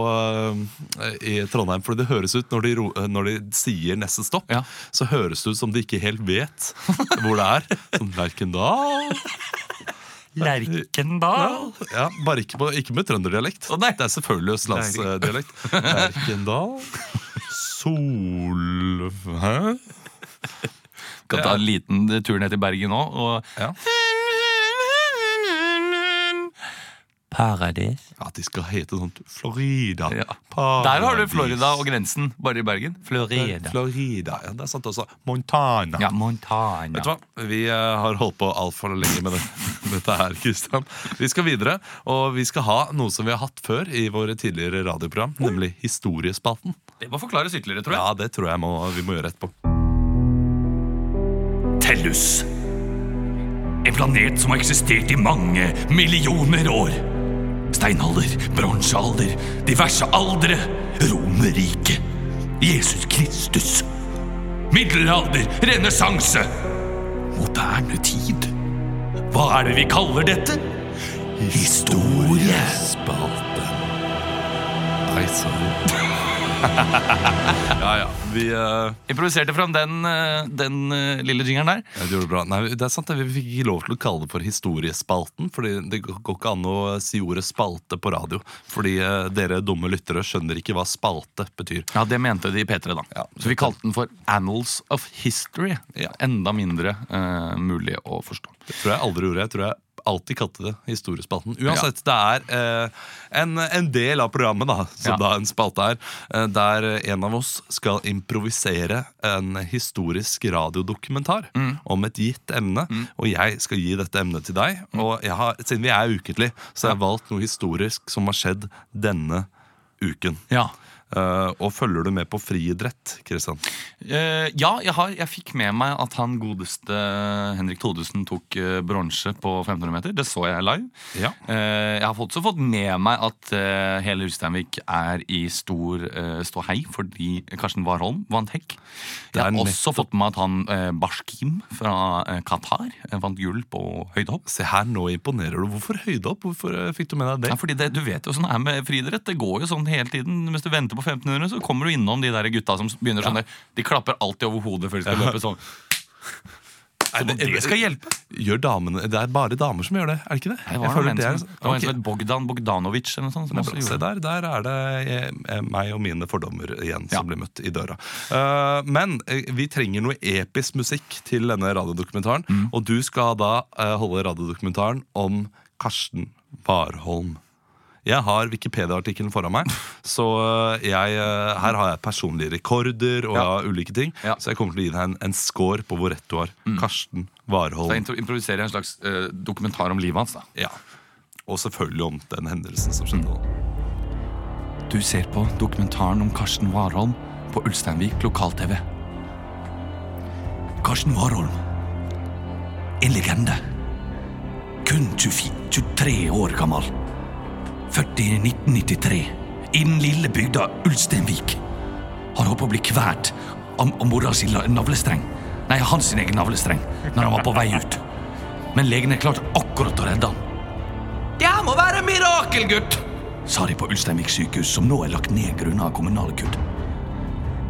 Speaker 6: eh, i
Speaker 1: Trondheim, for det høres ut når de, ro, eh, når de sier neste stopp,
Speaker 2: Ja.
Speaker 1: så høres det ut som de ikke helt vet hvor det er. Sånn Lerkendal
Speaker 2: Lerkendal!
Speaker 1: ja, Bare ikke, på, ikke med trønderdialekt. det er selvfølgelig østlandsdialekt. Lerkendal Sol... Hæ?
Speaker 2: Skal ta en liten tur ned til Bergen nå, og
Speaker 1: Ja.
Speaker 2: Paradis.
Speaker 1: At de skal hete sånt Florida.
Speaker 2: Ja.
Speaker 1: Paradis.
Speaker 2: Der har du Florida og grensen, bare i Bergen. Florida.
Speaker 1: Florida, ja, Det er sant også. Montana.
Speaker 2: Ja, Montana.
Speaker 1: Vet du hva? Vi eh, har holdt på altfor lenge med det. (laughs) dette her, Kristian. Vi skal videre, og vi skal ha noe som vi har hatt før i våre tidligere radioprogram, nemlig Historiespalten.
Speaker 2: Det må forklares ytterligere, tror jeg.
Speaker 1: Ja, det tror jeg må, vi må gjøre etterpå.
Speaker 7: Tellus. En planet som har eksistert i mange millioner år. Steinalder, bronsealder, diverse aldre, Romerriket, Jesus Kristus. Middelalder, renessanse. Moderne tid. Hva er det vi kaller dette? Historie.
Speaker 1: Nei, sorry. ja, ja. Vi eh,
Speaker 2: Improviserte fram den, eh, den eh, lille jingeren der.
Speaker 1: ja, du gjorde det bra. Nei, det er sant, det. vi fikk ikke lov til å kalle det for Historiespalten, fordi det går går ikke an å si ordet spalte på radio. Fordi eh, dere dumme lyttere skjønner ikke hva spalte betyr.
Speaker 2: Ja, Det mente de i P3, da.
Speaker 1: Ja.
Speaker 2: Så vi kalte den for Annals of History. Enda mindre eh, mulig å forstå.
Speaker 1: Det tror jeg aldri gjorde. Jeg tror jeg alltid kalte det Historiespalten. Uansett, det er eh, en, en del av programmet, da, som
Speaker 2: Ja.
Speaker 1: da en spalte er, eh, der en av oss skal improvisere en historisk radiodokumentar om et gitt emne. Og jeg skal gi dette emnet til deg. Og jeg har, siden vi er ukentlig, så har jeg valgt noe historisk som har skjedd denne uken.
Speaker 2: Ja,
Speaker 1: Eh, og følger du med på friidrett, Kristian?
Speaker 2: Eh, ja, jeg, har, jeg fikk med meg at han godeste Henrik Todesen tok eh, bronse på 1500 meter. Det så jeg live.
Speaker 1: Ja.
Speaker 2: Eh, jeg har også fått med meg at eh, hele Ulsteinvik er i stor eh, ståhei fordi Karsten Warholm vant hekk. Jeg har
Speaker 1: Det er
Speaker 2: også fått med meg at han eh, Bashkim fra eh, Qatar eh, vant gull på høydehopp.
Speaker 1: Se her, nå imponerer du. Hvorfor høydehopp? Hvorfor eh, fikk du med deg det?
Speaker 2: Ja, fordi det, Du vet jo sånn det er med friidrett. Det går jo sånn hele tiden. Mens du venter på 1500, så kommer du innom de der gutta som begynner sånn der. De klapper alltid over hodet før de skal løpe sånn.
Speaker 1: Nei,
Speaker 2: Som om det skal hjelpe.
Speaker 1: Gjør damene, Det er bare damer som gjør det, er det ikke det?
Speaker 2: Det
Speaker 1: Jeg
Speaker 2: var
Speaker 1: føler
Speaker 2: noen
Speaker 1: det
Speaker 2: menn
Speaker 1: er- sånn-
Speaker 2: som, det var en
Speaker 1: Ok,
Speaker 2: som het Bogdan Bogdanovic eller noe sånt.
Speaker 1: det
Speaker 2: Som
Speaker 1: er
Speaker 2: også
Speaker 1: bra. Se
Speaker 2: gjorde det.
Speaker 1: der, der er det eh, meg og mine fordommer igjen som
Speaker 2: Ja.
Speaker 1: blir møtt i døra. Eh, men eh, vi trenger noe episk musikk til denne radiodokumentaren.
Speaker 2: Mm.
Speaker 1: Og du skal da eh, holde radiodokumentaren om Karsten Warholm. Jeg har Wikipedia-artikkelen foran
Speaker 2: (laughs)
Speaker 1: meg, så jeg, eh, her har jeg personlige rekorder og jeg har ulike ting.
Speaker 2: Ja. Mm.
Speaker 1: Så jeg kommer til å gi deg en, en score på hvor rett du har. Karsten Warholm.
Speaker 2: Så jeg intro- improviserer en slags eh, dokumentar om livet hans. da
Speaker 1: Ja. Og selvfølgelig om den hendelsen som skjedde. da.
Speaker 2: Du ser på dokumentaren om Karsten Warholm på Ulsteinvik lokal-TV.
Speaker 7: Karsten Warholm. En legende. Kun 24, 23 år gammel. Født i 1993 i den lille bygda Ulsteinvik. Han holdt på å bli kvalt av av mora sin la- navlestreng. Nei, hans sin egen navlestreng, når han var på vei ut. Men legene klarte akkurat å redde han. Det her må være mirakel, gutt! sa de på Ulsteinvik sykehus, som nå er lagt ned grunnet kommunale kutt.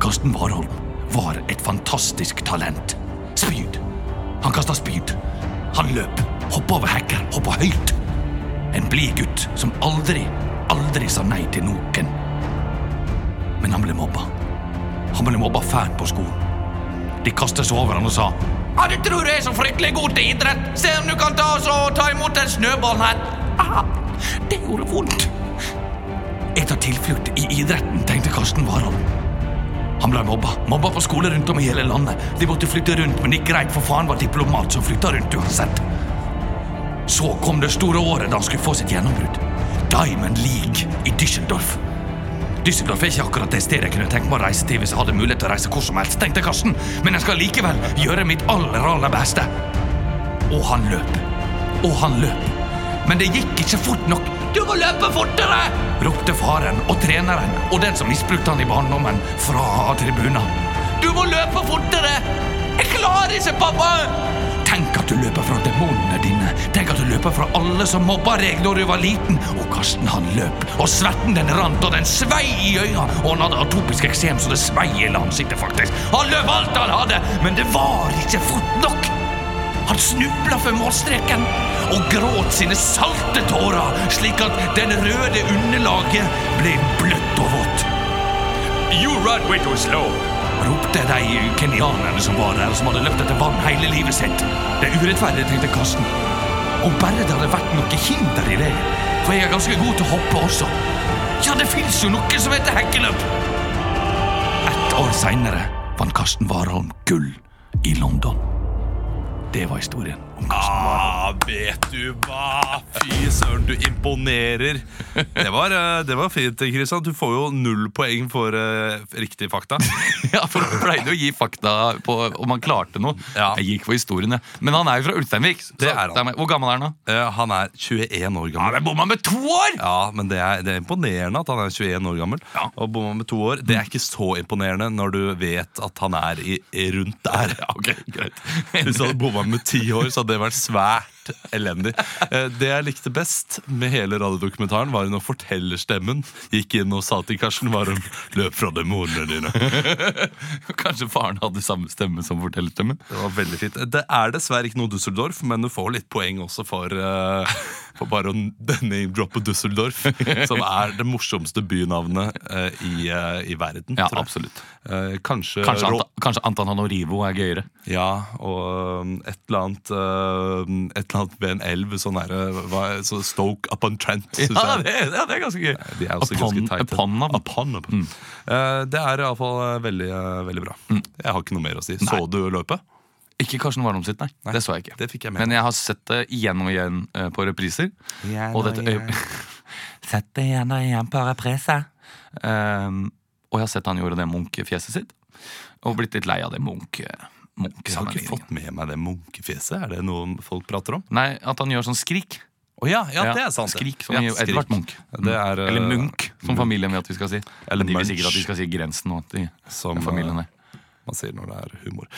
Speaker 7: Karsten Warholm var et fantastisk talent. Spyd. Han kasta spyd. Han løp. Hoppa over hekker. Hoppa høyt. En blid gutt som aldri, aldri sa nei til noen. Men han ble mobba. Han ble mobba fælt på skolen. De kastet seg over han og sa Ja, du tror du er så fryktelig god til idrett. Se om du kan ta, oss og ta imot den snøballen her. Ah, det gjorde vondt. Jeg tar tilflukt i idretten, tenkte Karsten Warholm. Han ble mobba. Mobba på skole rundt om i hele landet. De måtte flytte rundt, men det gikk greit, for faen var diplomat som flytta rundt uansett. Så kom det store året da han skulle få sitt gjennombrudd. Diamond League i Düsseldorf. Düsseldorf er ikke akkurat det stedet jeg kunne tenke meg å reise til hvis jeg hadde mulighet til å reise hvor som helst, tenkte Karsten, men jeg skal likevel gjøre mitt aller, aller beste. Og han løp. Og han løp. Men det gikk ikke fort nok. Du må løpe fortere! ropte faren og treneren og den som misbrukte han i barndommen, fra tribunen. Du må løpe fortere! Jeg klarer ikke, pappa! Tenk at du løper fra demonene dine. Tenk at du løper fra alle som mobba deg når du var liten. Og Karsten han løp, og svetten den rant, og den svei i øya. Og han hadde atopisk eksem, så det svei i hele ansiktet, faktisk. Han løp alt han hadde, men det var ikke fort nok. Han snubla for målstreken og gråt sine salte tårer, slik at den røde underlaget ble bløtt og vått.
Speaker 4: You run way too slow.
Speaker 7: Ropte de kenyanerne som var der, som hadde løpt etter vann hele livet sitt. Det er urettferdig, tenkte Karsten. Om bare det hadde vært noe hinder i det, for jeg er ganske god til å hoppe også. Ja, det fins jo noe som heter hekkeløp! Ett år seinere vant Karsten Warholm gull i London. Det var historien om Karsten.
Speaker 1: Ah, vet du hva? Fy søren, du imponerer. Det var, eh, det var fint, Kristian. Du får jo null poeng for eh, riktig (laughs) fakta.
Speaker 2: (laughs) Ja, for Han pleide å gi fakta på om han klarte noe.
Speaker 1: Ja.
Speaker 2: Jeg gikk for historien, jeg. Men han er jo fra Ulsteinvik. så-
Speaker 1: Det er han.
Speaker 2: det meg- Hvor gammel er han, da?
Speaker 1: Eh, Han er 21 år
Speaker 2: Han
Speaker 1: gammel.
Speaker 2: er bomma med to år!
Speaker 1: Ja, men det er, det er imponerende at han er 21 år gammel
Speaker 2: Ja.
Speaker 1: og bomma med to år. Det er ikke så imponerende når du vet at han er i, i rundt der.
Speaker 2: Ok, greit
Speaker 1: (laughs) Hvis du hadde bomma med ti år, så hadde det vært svært elendig. Eh, Det jeg likte best med hele radiodokumentaren, var når fortellerstemmen gikk inn og sa til Karsten Warholm Løp fra demonene dine. Det
Speaker 2: (laughs) Kanskje faren hadde samme stemme som fortellerstemmen?
Speaker 1: var veldig fint. Det er dessverre ikke noe Dusseldorf, men du får litt poeng også for, eh, for bare å name-droppe
Speaker 2: (laughs)
Speaker 1: Dusseldorf, som er det morsomste bynavnet eh, i, eh, i verden.
Speaker 2: Ja,
Speaker 1: tror jeg.
Speaker 2: absolutt.
Speaker 1: Eh, Kanskje,
Speaker 2: Kanskje,
Speaker 1: Rå-
Speaker 2: Anta, kanskje Antan Anorivo er gøyere.
Speaker 1: Ja, og um, et eller annet um, Et eller annet ved en elv. Sånn der, uh, hva- så Stoke upon Trent. synes jeg.
Speaker 2: ja, det er ganske gøy.
Speaker 1: De er også
Speaker 2: Upon-
Speaker 1: ganske teite.
Speaker 2: upon navn.
Speaker 1: Upon, upon.
Speaker 2: Mm.
Speaker 1: Eh, det er iallfall veldig, eh, veldig bra. Jeg har ikke noe mer å si. Så du løpet?
Speaker 2: Ikke Karsten Warholm sitt, nei. Det så jeg ikke.
Speaker 1: Det fikk jeg med.
Speaker 2: Men jeg har sett det igjen og igjen eh, på repriser. og dette øye... (laughs) Sett det igjen og igjen på reprise. Ehm, og jeg har sett han gjorde det munkefjeset sitt. Og blitt litt lei av det munk...
Speaker 1: jeg har ikke
Speaker 2: munksammenligningen.
Speaker 1: fått med meg det munkefjeset. Er det noe folk prater om?
Speaker 2: Nei, at han gjør sånn skrik.
Speaker 1: Å ja, ja,
Speaker 2: Ja,
Speaker 1: det er sant. det.
Speaker 2: Skrik, som
Speaker 1: Ja,
Speaker 2: i Edvard Munch. Mm.
Speaker 1: Det er, eh,
Speaker 2: Eller Munch, som familien vil at vi skal si.
Speaker 1: Eller
Speaker 2: de vil
Speaker 1: Munch.
Speaker 2: sikkert at vi skal si grensen og at de,
Speaker 1: Som, eh,
Speaker 2: familien der.
Speaker 1: Man sier når det er humor.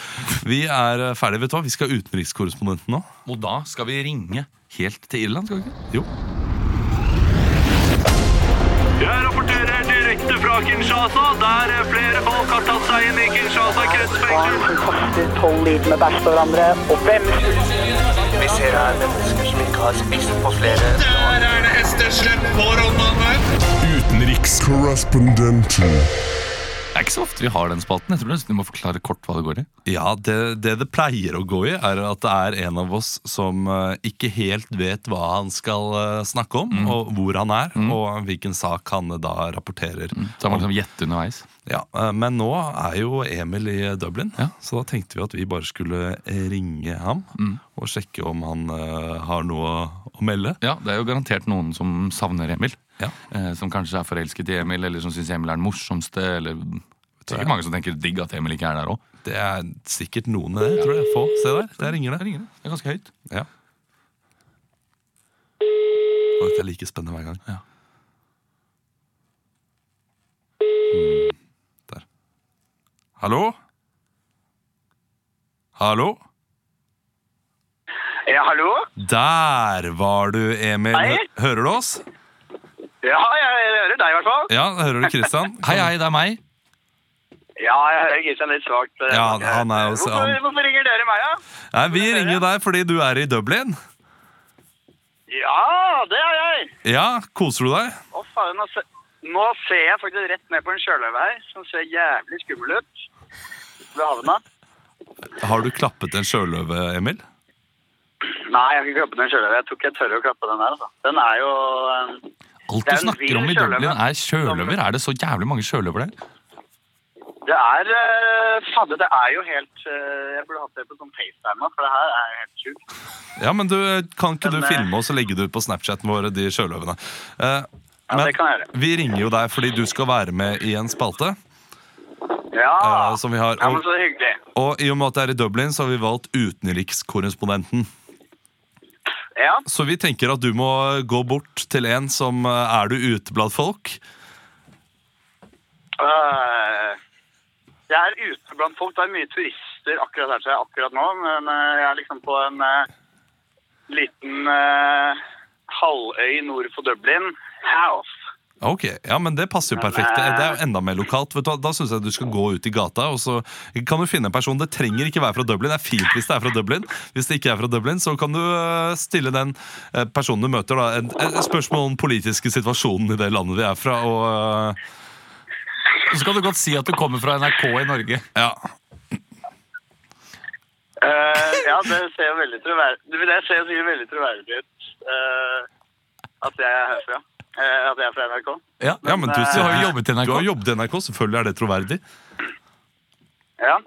Speaker 1: Vi er eh, ferdige, vet du hva. Vi skal ha utenrikskorrespondenten nå.
Speaker 2: Og da skal vi ringe helt til Irland, skal vi ikke?
Speaker 1: Jo.
Speaker 8: Jeg rapporterer direkte fra Kinshasa, der flere folk har tatt seg inn i Kinshasa kretsfengsel.
Speaker 9: barn som kaster tolv liter med bæsj på hverandre, og hvem skulle
Speaker 10: Vi ser her mennesker som ikke har spist på flere
Speaker 11: Utenrikskorrespondenten.
Speaker 2: Det er ikke så ofte vi har den spalten. Jeg tror nesten du må forklare kort hva det går i.
Speaker 1: Ja, det, det det pleier å gå i, er at det er en av oss som eh, ikke helt vet hva han skal eh, snakke
Speaker 2: Mm.
Speaker 1: om, og hvor han er, og hvilken sak han eh, da rapporterer.
Speaker 2: Så man liksom gjette underveis.
Speaker 1: Ja, eh, men nå er jo Emil i Dublin,
Speaker 2: Ja.
Speaker 1: så da tenkte vi at vi bare skulle ringe ham og sjekke om han eh, har noe å melde.
Speaker 2: Ja, Det er jo garantert noen som savner Emil.
Speaker 1: Ja.
Speaker 2: Eh, som kanskje er forelsket i Emil, eller som syns Emil er den morsomste. Eller det er
Speaker 1: jeg.
Speaker 2: ikke mange som tenker digg at Emil ikke er der òg.
Speaker 1: Det er sikkert noen det, tror jeg. Få, se der, der ringer det.
Speaker 2: Det er ganske høyt.
Speaker 1: Ja. Og dette er like spennende hver gang.
Speaker 2: Ja.
Speaker 1: Mm, Der. Hallo? Hallo?
Speaker 10: Ja, hallo?
Speaker 1: Der var du, Emil.
Speaker 10: Hei.
Speaker 1: Hø- Hører du oss?
Speaker 10: Ja, jeg hører deg i hvert fall.
Speaker 1: Ja, hører du
Speaker 2: (laughs)
Speaker 1: Kristian?
Speaker 2: Hei, hei, det er meg.
Speaker 10: Ja, jeg hører Kristian litt svagt. eh,
Speaker 1: Ja,
Speaker 10: bak her.
Speaker 1: han er også-
Speaker 10: Hvorfor,
Speaker 1: han-
Speaker 10: hvorfor ringer dere meg, da?
Speaker 1: Nei, vi ringer deg fordi du er i Dublin.
Speaker 10: Ja, det er jeg!
Speaker 1: Ja, koser du deg?
Speaker 10: Å, faen, nå, se- nå ser jeg faktisk rett ned på en sjøløve her, som ser jævlig skummel ut. Ved havna.
Speaker 1: Har du klappet en sjøløve, Emil?
Speaker 10: Nei, jeg har ikke klappet den sjøløve. Jeg tror ikke jeg tør å klappe den her, altså. Den er jo eh,
Speaker 2: Alt du
Speaker 10: Det er en
Speaker 2: snakker om i
Speaker 10: vill
Speaker 2: Dublin,
Speaker 10: sjøløve.
Speaker 2: er sjøløver. Er det så jævlig mange sjøløver der?
Speaker 10: Det er eh, Fadde, det er jo helt eh, Jeg burde hatt det på sånn FaceTime, for det her er jo helt sjukt.
Speaker 1: Ja, men du, Kan ikke du
Speaker 10: Men, eh,
Speaker 1: filme oss og legge det ut på Snapchaten vår, de sjøløvene? Eh,
Speaker 10: Ja, det kan jeg gjøre.
Speaker 1: vi ringer jo deg fordi du skal være med i en spalte.
Speaker 10: Ja.
Speaker 1: eh, som vi har,
Speaker 10: ja, men
Speaker 1: og,
Speaker 10: så hyggelig.
Speaker 1: og i og med at det er i Dublin, så har vi valgt utenrikskorrespondenten.
Speaker 10: Ja.
Speaker 1: Så vi tenker at du må gå bort til en som eh, Er du ute blant folk?
Speaker 10: Øh, jeg er ute blant folk. Det er mye turister akkurat her, så jeg er akkurat nå. Men øh, jeg er liksom på en øh, liten øh, halvøy nord for Dublin. House.
Speaker 1: Ok, ja, men Det passer jo perfekt. Det det er jo enda mer lokalt. Vet du, hva, da syns jeg du skal gå ut i gata og så kan du finne en person. Det trenger ikke være fra Dublin. Det er fint hvis det er fra Dublin. Hvis det ikke er fra Dublin, så kan du eh, stille den eh, personen du møter, da, et, et spørsmål om politiske situasjonen i det landet de er fra. Og, eh,
Speaker 2: Så kan du godt si at du kommer fra NRK i Norge.
Speaker 1: ja,
Speaker 10: Øh, ja, det ser jo veldig troverdig Det ser jo sikkert veldig troverdig ut øh, at jeg er herfra. Øh, at jeg er fra NRK.
Speaker 2: Ja,
Speaker 1: ja, men du,
Speaker 10: eh,
Speaker 1: du
Speaker 2: Du
Speaker 1: har
Speaker 2: har jo
Speaker 1: jo
Speaker 2: jobbet i NRK.
Speaker 1: jobbet i NRK, selvfølgelig er det troverdig.
Speaker 10: Ja. Øh,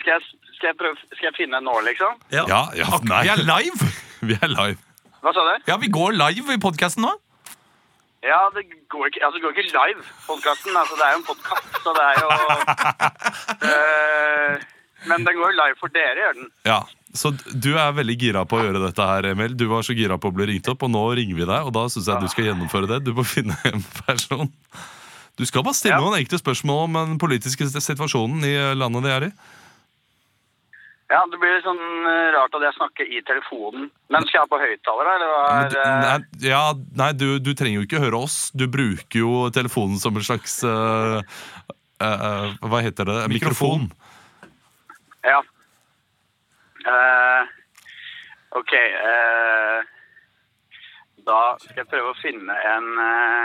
Speaker 10: skal, jeg, skal, jeg prøve, skal jeg finne en nå, liksom?
Speaker 1: Ja, ja, nei.
Speaker 2: Vi er live!
Speaker 1: (laughs) Vi er live.
Speaker 10: Hva sa du?
Speaker 2: Ja, vi går live i podkasten nå.
Speaker 10: Ja, det går ikke, altså, det går ikke live, podkasten. Altså, det er jo en podkast, så det er jo
Speaker 1: (laughs)
Speaker 10: Eh, Men den går jo live for dere, gjør den.
Speaker 1: Ja, så du er veldig gira på å gjøre dette her, Emil. Du var så gira på å bli ringt opp, og nå ringer vi deg, og da syns jeg du skal gjennomføre det. Du må (laughs) finne en person. Du skal bare stille
Speaker 10: Ja.
Speaker 1: noen enkle spørsmål om den politiske situasjonen i eh, landet de er i.
Speaker 10: Ja, Det blir litt sånn eh, rart at jeg snakker i telefonen. Men skal jeg ha på høyttaler, da? Eller hva
Speaker 1: Men
Speaker 10: er
Speaker 1: du,
Speaker 10: eh,
Speaker 1: nei, ja, nei du, du trenger jo ikke høre oss. Du bruker jo telefonen som en slags eh, eh, Hva heter det? Mikrofon.
Speaker 10: Ja. Eh, OK. eh, da skal jeg prøve å finne en eh,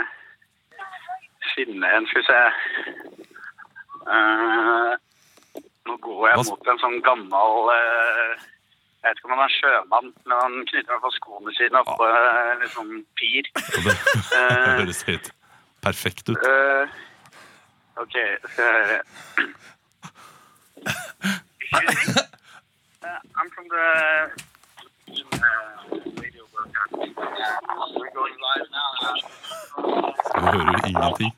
Speaker 10: Finne en Skal vi se Eh, Nå går jeg
Speaker 1: Hva s-
Speaker 10: mot en sånn gammel eh, Jeg vet ikke om han er sjømann, men han knytter i hvert fall skoene sine oppå eh, en sånn
Speaker 1: (laughs)
Speaker 10: pir.
Speaker 1: Og Det, det
Speaker 10: Eh,
Speaker 1: høres helt perfekt ut.
Speaker 10: Eh, ok, skal jeg (coughs) høre. Excuse me? Eh, I'm from the... eh, radio broadcast. We're going live now.
Speaker 1: Du hører jo ingenting.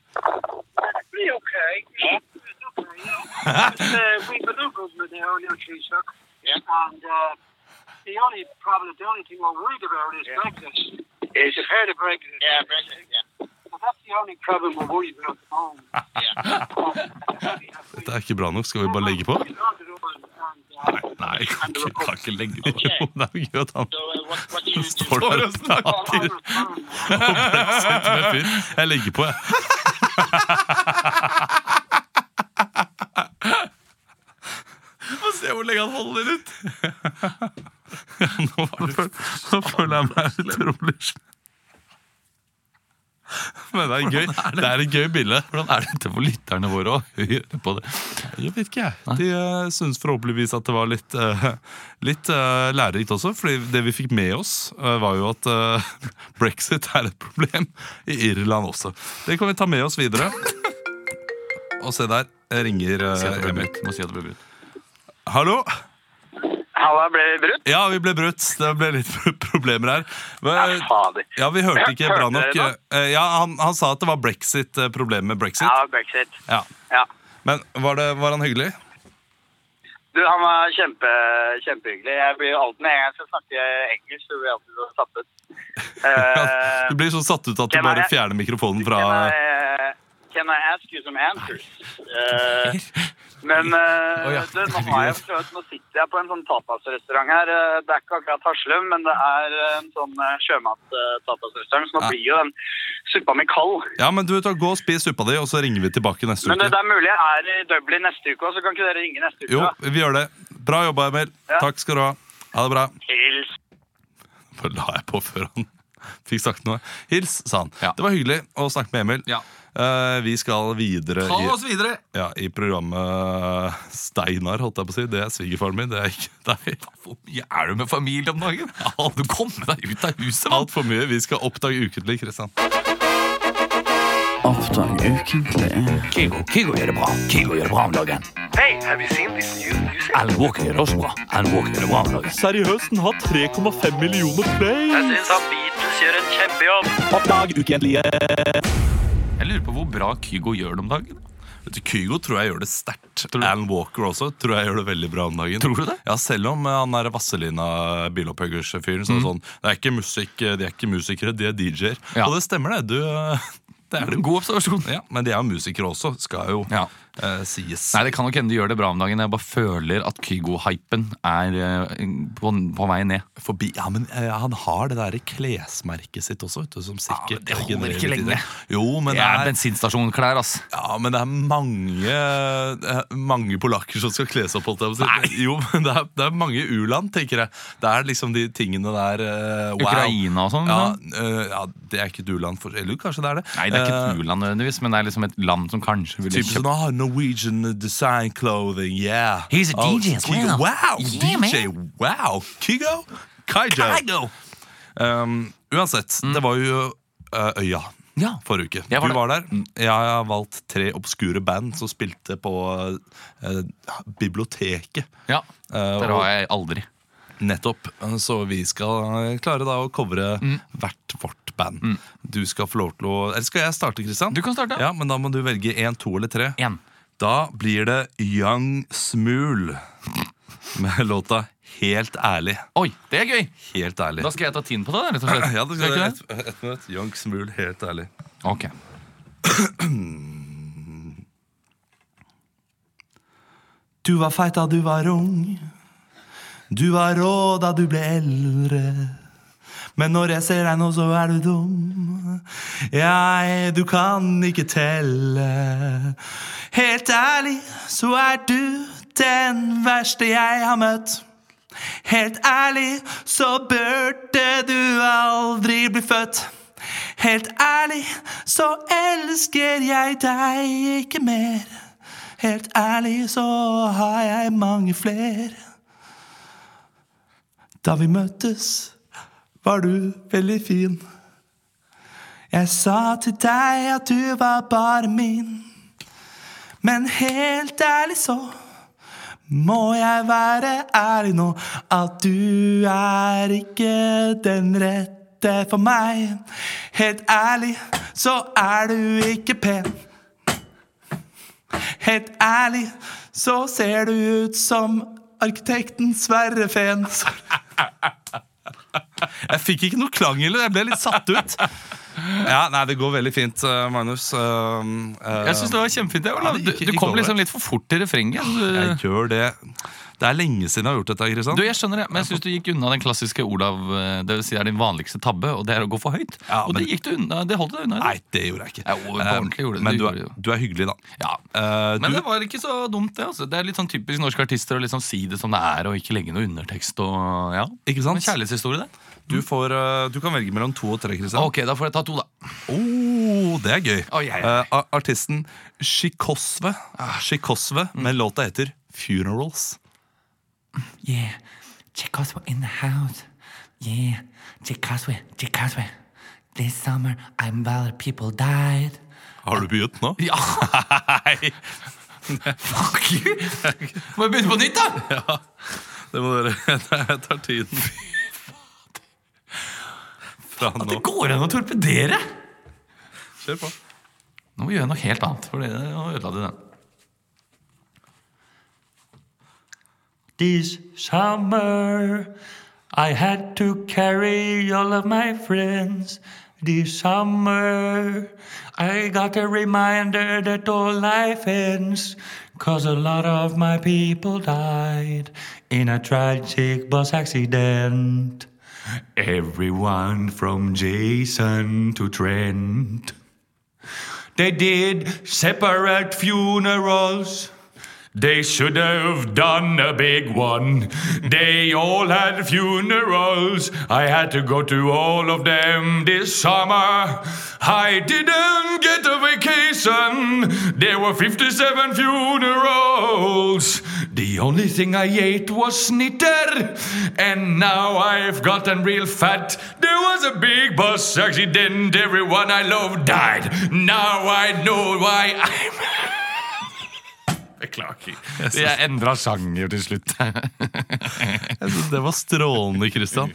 Speaker 10: Pretty okay. It's, uh, we've been in government now, no Taoiseach. And uh, the only problem, the only thing we're worried about is Brexit. Is you've heard of Brexit? Yeah, Brexit, yeah. Ah. Well, that's the only problem we're worried about at the moment.
Speaker 1: Dette er ikke bra nok. Skal vi bare legge på?
Speaker 10: uh,
Speaker 1: Nei, kan ikke, kan ikke legge på. Jo, (laughs) det er jo gøy at han står der og snakker og plekset med fyr. Jeg legger på, jeg. (laughs) Få se hvor lenge han holder ut. (laughs) Nå, føl- nå føler jeg meg utrolig slem. Men det er gøy. Det er et gøy bilde.
Speaker 2: Hvordan er dette for lytterne våre å høre på det?
Speaker 1: Jeg vet ikke, jeg. De uh, syntes forhåpentligvis at det var litt, eh, litt eh, lærerikt også. fordi det vi fikk med oss, eh, var jo at eh, (laughs) brexit er et problem i Irland også. Det kan vi ta med oss videre. Og se der eh, ringer eh,
Speaker 2: Si at det ble
Speaker 1: Emil.
Speaker 2: brutt. Må si at det ble brutt.
Speaker 1: Hallo?
Speaker 10: Halla, ble det brutt?
Speaker 1: Ja, vi ble brutt. Det ble litt (laughs) problemer her. Hva-
Speaker 10: Fader.
Speaker 1: Ja, Vi hørte ikke bra
Speaker 10: Hørte
Speaker 1: nok.
Speaker 10: dere
Speaker 1: eh, Ja, Han, han sa at det var brexit, eh, problemet med brexit.
Speaker 10: Ja, brexit.
Speaker 1: Ja.
Speaker 10: Ja.
Speaker 1: Men var, det, var han hyggelig?
Speaker 10: Du, han var kjempe, kjempehyggelig. Jeg blir jo alltid, Når jeg skal snakke engelsk, så blir jeg alltid så satt
Speaker 1: (laughs)
Speaker 10: ut. Eh,
Speaker 1: Du blir så satt ut at du
Speaker 10: hvem er
Speaker 1: bare
Speaker 10: det?
Speaker 1: fjerner mikrofonen fra
Speaker 10: can, I, can I ask you some answers?
Speaker 1: (laughs)
Speaker 10: Eh, men eh,
Speaker 2: Å, ja.
Speaker 10: du, nå, har jeg prøvd, nå sitter jeg på en sånn tapasrestaurant her. Eh, Det er ikke akkurat Haslum, men det er en sånn sjømat-tapasrestaurant. Så nå blir jo den suppa mi kald.
Speaker 1: Ja, men du vet hva, Gå og spis suppa di, og så ringer vi tilbake neste
Speaker 10: Men eh,
Speaker 1: uke.
Speaker 10: det er mulig jeg er i Dublin neste uke òg, så kan ikke dere ringe neste uke?
Speaker 1: Jo,
Speaker 10: da?
Speaker 1: vi gjør det. Bra jobba, Emil.
Speaker 10: Ja.
Speaker 1: Takk skal du ha. Ha det bra.
Speaker 10: Hils.
Speaker 1: Bare la jeg på før han (laughs) fikk sagt noe. Hils, sa han.
Speaker 2: Ja.
Speaker 1: Det var hyggelig å snakke med Emil.
Speaker 2: Ja.
Speaker 1: Eh, vi skal videre
Speaker 2: Ta
Speaker 1: i,
Speaker 2: oss videre!
Speaker 1: ja, i programmet Steinar, holdt jeg på å si. Det er svigerfaren min, det er ikke (laughs) deg.
Speaker 2: Hvor mye er du med familie om dagen? Har du kommet deg ut av huset, mann?
Speaker 1: Altfor mye. Vi skal oppdage ukentlig, Kristian.
Speaker 7: Kygo, Kygo gjør det bra. Kygo gjør det bra om dagen. Alan Walker gjør det også bra. Alan Walker gjør det bra om dagen.
Speaker 8: Seriøst, den har 3,5 millioner play!
Speaker 10: Jeg syns at Beatles gjør en kjempejobb.
Speaker 2: Jeg lurer på hvor bra Kygo gjør det om dagen.
Speaker 1: Vet du, Kygo tror jeg gjør det sterkt. Alan Walker også tror jeg gjør det veldig bra om dagen.
Speaker 2: Tror du det?
Speaker 1: Ja, Selv om eh, han er Vazelina-bilopphuggers-fyren. Sånn, sånn, det er ikke musikk, eh, de er ikke musikere, de er DJ-er.
Speaker 2: Mhm. Ja.
Speaker 1: Og det stemmer, det. Du, eh, (laughs) det er det.
Speaker 2: God observasjon.
Speaker 1: Ja, men de er jo musikere også, skal jo
Speaker 2: Ja.
Speaker 1: eh, sies.
Speaker 2: Nei, Det kan nok hende de gjør det bra om dagen. Jeg bare føler at Kygo-hypen er eh, på, på vei ned.
Speaker 1: Forbi, ja, men eh, Han har det der klesmerket sitt også, vet du, som sikkert
Speaker 2: men det holder
Speaker 1: genererer
Speaker 2: ikke
Speaker 1: litt
Speaker 2: lenge.
Speaker 1: idé. Jo, men
Speaker 2: Det er bensinstasjonklær, ass.
Speaker 1: Ja, men det er mange eh, Mange polakker som skal kle seg opp. holdt jeg på å si. Jo, men det er, det er mange u-land, tenker jeg. Det er liksom de tingene der eh, wow.
Speaker 2: Ukraina og sånn,
Speaker 1: Ja, eh, ja, det er ikke et u-land. for- Eller kanskje det er det.
Speaker 2: Nei, det er ikke
Speaker 1: Eh,
Speaker 2: et u-land nødvendigvis, men det er liksom et land som kanskje ville
Speaker 1: Typisk sånn ah, Norwegian design clothing, yeah.
Speaker 2: He's a
Speaker 1: Oh,
Speaker 2: DJ as
Speaker 1: Kygo.
Speaker 2: well.
Speaker 1: Wow,
Speaker 2: Yeah,
Speaker 1: DJ, wow. Kygo? Kygo. Um, uansett, det var jo uh, Øya
Speaker 2: Ja.
Speaker 1: forrige uke.
Speaker 2: Jeg var
Speaker 1: du
Speaker 2: der.
Speaker 1: var der. Jeg har valgt tre obskure band som spilte på uh, biblioteket.
Speaker 2: Ja,
Speaker 1: Uh,
Speaker 2: Der
Speaker 1: og
Speaker 2: var jeg aldri.
Speaker 1: Nettopp. Så vi skal eh, klare da å covre
Speaker 2: Mm.
Speaker 1: hvert vårt band. Du skal få lov til å Eller skal jeg starte, Kristian?
Speaker 2: Du kan starte.
Speaker 1: Ja, Men da må du velge én, to eller tre.
Speaker 2: En.
Speaker 1: Da blir det Young Smool med låta Helt ærlig.
Speaker 2: Oi, det er gøy!
Speaker 1: Helt ærlig.
Speaker 2: Da skal jeg ta tiden på det, rett og slett.
Speaker 1: Ja, det
Speaker 2: Skal
Speaker 1: skal
Speaker 2: jeg
Speaker 1: ett et minutt. Young Smool, helt ærlig.
Speaker 2: Ok.
Speaker 1: Du var feit da du var ung. Du var rå da du ble eldre. Men når jeg ser deg nå, så er du dum. Jeg, du kan ikke telle. Helt ærlig, så er du den verste jeg har møtt. Helt ærlig, så burde du aldri bli født. Helt ærlig, så elsker jeg deg ikke mer. Helt ærlig, så har jeg mange fler. Da vi møttes, var du veldig fin. Jeg sa til deg at du var bare min. Men helt ærlig så må jeg være ærlig nå at du er ikke den rette for meg. Helt ærlig, så er du ikke pen. Helt ærlig, så ser du ut som arkitekten Sverre Fehn. Jeg fikk ikke noe klang heller. Jeg ble litt satt ut. Ja, Nei, det går veldig fint, eh, Magnus. Um, eh,
Speaker 2: Jeg syns det var kjempefint. det,
Speaker 1: Ja,
Speaker 2: Olav.
Speaker 1: det
Speaker 2: Du,
Speaker 1: gikk-
Speaker 2: du
Speaker 1: gikk
Speaker 2: kom
Speaker 1: over.
Speaker 2: liksom litt for fort til refrenget.
Speaker 1: Jeg
Speaker 2: Du,
Speaker 1: gjør det. Det er lenge siden jeg har gjort dette. Kristian
Speaker 2: du, jeg skjønner det, men jeg syns du gikk unna den klassiske Olav eh, Det vil si det er din vanligste tabbe, og det er å gå for høyt.
Speaker 1: Ja,
Speaker 2: og
Speaker 1: men-
Speaker 2: det gikk du unna. Det holdt du deg unna.
Speaker 1: Nei, det gjorde jeg ikke. Eh,
Speaker 2: Ja, jo, på ordentlig gjorde du det.
Speaker 1: men
Speaker 2: Du
Speaker 1: du er,
Speaker 2: gjorde det jo.
Speaker 1: du er hyggelig, da.
Speaker 2: Ja.
Speaker 1: Eh,
Speaker 2: Men
Speaker 1: du,
Speaker 2: det var ikke så dumt, det. altså Det er litt sånn typisk norske artister å liksom si det som det er, og ikke legge noe undertekst. Og, ja.
Speaker 1: Ikke sant?
Speaker 2: En kjærlighetshistorie, det.
Speaker 1: du, får, eh, du kan velge mellom to og tre, Kristian.
Speaker 2: Ok, da får jeg ta (laughs) to, da.
Speaker 1: Oh, det er gøy.
Speaker 2: Oi, oi, oi.
Speaker 1: Eh, a- artisten Shikosve,
Speaker 2: Ah.
Speaker 1: Shikosve
Speaker 2: Mm.
Speaker 1: men låta heter Funerals.
Speaker 11: Yeah, Chick Oswald in the house. Yeah, Chick Oswald, Chick Oswald. This summer, I'm valid people died.
Speaker 1: Har du begynt nå?
Speaker 2: Ja. Nei! Fuck you! Må jeg begynne på nytt, da?
Speaker 1: Det må dere (laughs) Jeg tar tiden. Fra nå.
Speaker 2: Går det an å torpedere?
Speaker 1: Kjør på.
Speaker 2: Nå må vi gjøre noe helt annet, for det nå ødela du den.
Speaker 12: This summer I had to carry all of my friends. This summer I got a reminder that all life ends. Cause a lot of my people died in a tragic bus accident. Everyone from Jason to Trent. They did separate funerals. They should have done a big one. They all had funerals. I had to go to all of them this summer. I didn't get a vacation. There were 57 funerals. The only thing I ate was snitter. And now I've gotten real fat. There was a big bus accident. Everyone I love died. Now I know why I'm Beklager.
Speaker 2: Jeg endra sjanger til slutt.
Speaker 1: Jeg synes Det var strålende, Kristian.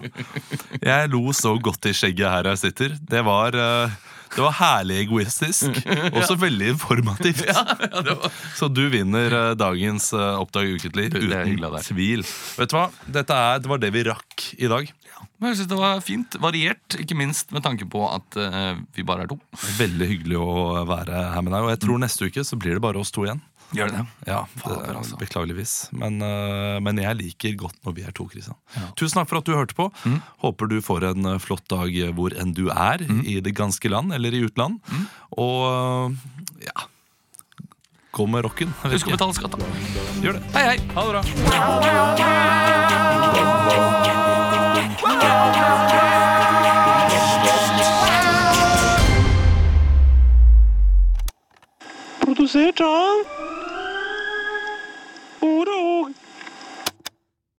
Speaker 1: Jeg lo så godt i skjegget her jeg sitter. Det var eh, Det var herlig egoistisk, også veldig informativt. Så du vinner eh, dagens eh, Oppdag ukentlig
Speaker 2: Du, det er
Speaker 1: uten
Speaker 2: hyggelig av deg.
Speaker 1: tvil. Vet du hva? Dette er, det var det vi rakk i dag.
Speaker 2: Men jeg synes det var fint, variert, ikke minst med tanke på at eh, vi bare er to.
Speaker 1: Veldig hyggelig å være her med deg. Og jeg
Speaker 2: Mm.
Speaker 1: tror neste uke så blir det bare oss to igjen.
Speaker 2: Gjør det det?
Speaker 1: Ja, det,
Speaker 2: Fader, altså.
Speaker 1: Beklageligvis. Men, øh, men jeg liker godt når vi er to, Kristian. Tusen takk for at du hørte på.
Speaker 2: Mm.
Speaker 1: Håper du får en øh, flott dag øh, hvor enn du er,
Speaker 2: Mm.
Speaker 1: i det ganske land eller i utland. Og øh, ja Gå med rocken. Jeg vet
Speaker 2: Husk å
Speaker 1: ikke.
Speaker 2: betale skatt, da.
Speaker 1: Gjør det.
Speaker 2: Hei, hei!
Speaker 1: Ha det bra.
Speaker 8: Produsert av